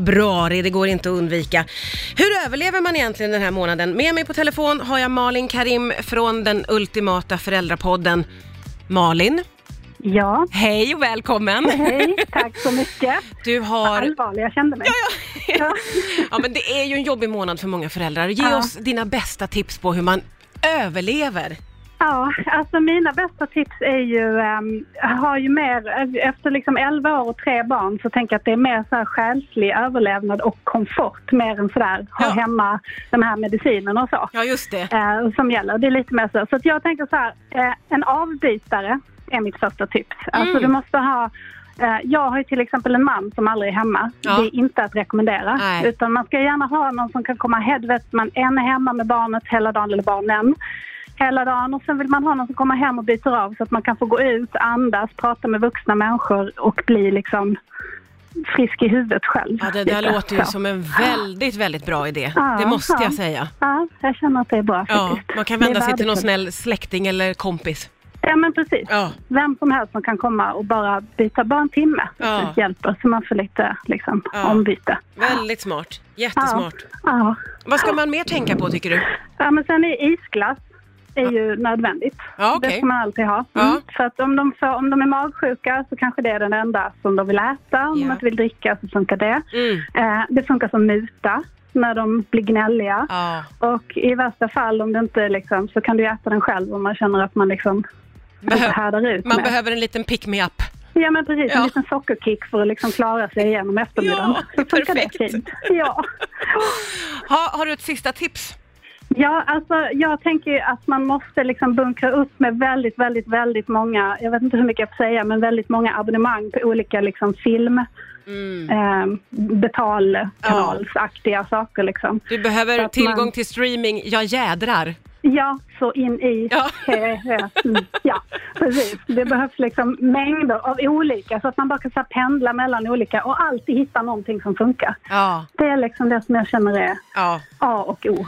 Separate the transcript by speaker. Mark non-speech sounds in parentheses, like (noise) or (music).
Speaker 1: vabruari, det går inte att undvika. Hur överlever man egentligen den här månaden? Med mig på telefon har jag Malin Karim från den ultimata föräldrapodden. Malin,
Speaker 2: Ja,
Speaker 1: hej och välkommen!
Speaker 2: hej, tack så mycket.
Speaker 1: (laughs) Du
Speaker 2: Vad
Speaker 1: har...
Speaker 2: allvarlig jag kände mig. Ja.
Speaker 1: Ja, men det är ju en jobbig månad för många föräldrar. Ge
Speaker 2: Ja.
Speaker 1: oss dina bästa tips på hur man överlever.
Speaker 2: ja, alltså mina bästa tips är ju, ehm, jag har ju mer, efter liksom 11 år och tre barn så tänker jag att det är mer så här själslig överlevnad och komfort mer än sådär ha
Speaker 1: Ja.
Speaker 2: hemma den här medicinen och så.
Speaker 1: Ja, just det.
Speaker 2: eh, som gäller. Det är lite mer så. Så att jag tänker så här, eh, en avbytare är mitt första tips. Alltså
Speaker 1: Mm.
Speaker 2: du måste ha eh, jag har ju till exempel en man som aldrig är hemma.
Speaker 1: Ja.
Speaker 2: Det är inte att rekommendera.
Speaker 1: Nej.
Speaker 2: Utan man ska gärna ha någon som kan komma headvet. Man en är hemma med barnet hela dagen, eller barnen, hela dagen. Och sen vill man ha någon som kommer hem och byter av så att man kan få gå ut, andas, prata med vuxna människor och bli liksom frisk i huvudet själv.
Speaker 1: Ja, det där
Speaker 2: Lite
Speaker 1: låter ju
Speaker 2: så.
Speaker 1: som en väldigt, väldigt bra idé.
Speaker 2: Ja,
Speaker 1: Det måste
Speaker 2: ja.
Speaker 1: jag säga.
Speaker 2: Ja, jag känner att det är bra
Speaker 1: Ja,
Speaker 2: faktiskt.
Speaker 1: man kan
Speaker 2: Det är
Speaker 1: vända sig till någon snäll
Speaker 2: värdefullt.
Speaker 1: släkting eller kompis.
Speaker 2: Ja, men precis.
Speaker 1: Ja.
Speaker 2: vem som helst som kan komma och bara byta, bara en timme
Speaker 1: Ja.
Speaker 2: hjälper så man får lite liksom,
Speaker 1: Ja.
Speaker 2: ombyte.
Speaker 1: Väldigt smart. Jättesmart.
Speaker 2: Ja.
Speaker 1: Vad ska man mer tänka på tycker du?
Speaker 2: ja, men sen är isglass är ju nödvändigt.
Speaker 1: Ja, okej.
Speaker 2: Det ska man alltid ha. Mm.
Speaker 1: Ja.
Speaker 2: Så att om de, får, om de är magsjuka så kanske det är den enda som de vill äta. Om
Speaker 1: Ja.
Speaker 2: de inte vill dricka så funkar det.
Speaker 1: Mm.
Speaker 2: Eh, det funkar som muta när de blir gnälliga.
Speaker 1: Ja.
Speaker 2: Och i värsta fall om det inte liksom, så kan du ju äta den själv om man känner att man liksom inte
Speaker 1: Behö-
Speaker 2: härdar ut
Speaker 1: Man
Speaker 2: med.
Speaker 1: behöver en liten pick-me-up.
Speaker 2: Ja men precis,
Speaker 1: Ja.
Speaker 2: en liten sockerkick för att liksom klara sig igenom eftermiddagen.
Speaker 1: Ja,
Speaker 2: Så funkar
Speaker 1: perfekt.
Speaker 2: Det fint. Ja.
Speaker 1: Ha, har du ett sista tips?
Speaker 2: ja, alltså jag tänker ju att man måste liksom bunkra upp med väldigt, väldigt, väldigt många, jag vet inte hur mycket jag får säga, men väldigt många abonnemang på olika liksom film,
Speaker 1: Mm.
Speaker 2: eh, betalkanalsaktiga saker liksom.
Speaker 1: Du behöver
Speaker 2: Att man-
Speaker 1: tillgång till streaming, jag jädrar.
Speaker 2: Ja, så in i. (laughs)
Speaker 1: Ja.
Speaker 2: Mm, ja, precis. Det behövs liksom mängder av olika så att man bara kan så här, pendla mellan olika och alltid hitta någonting som funkar.
Speaker 1: Ja,
Speaker 2: Det är liksom det som jag känner är
Speaker 1: ja.
Speaker 2: A och O.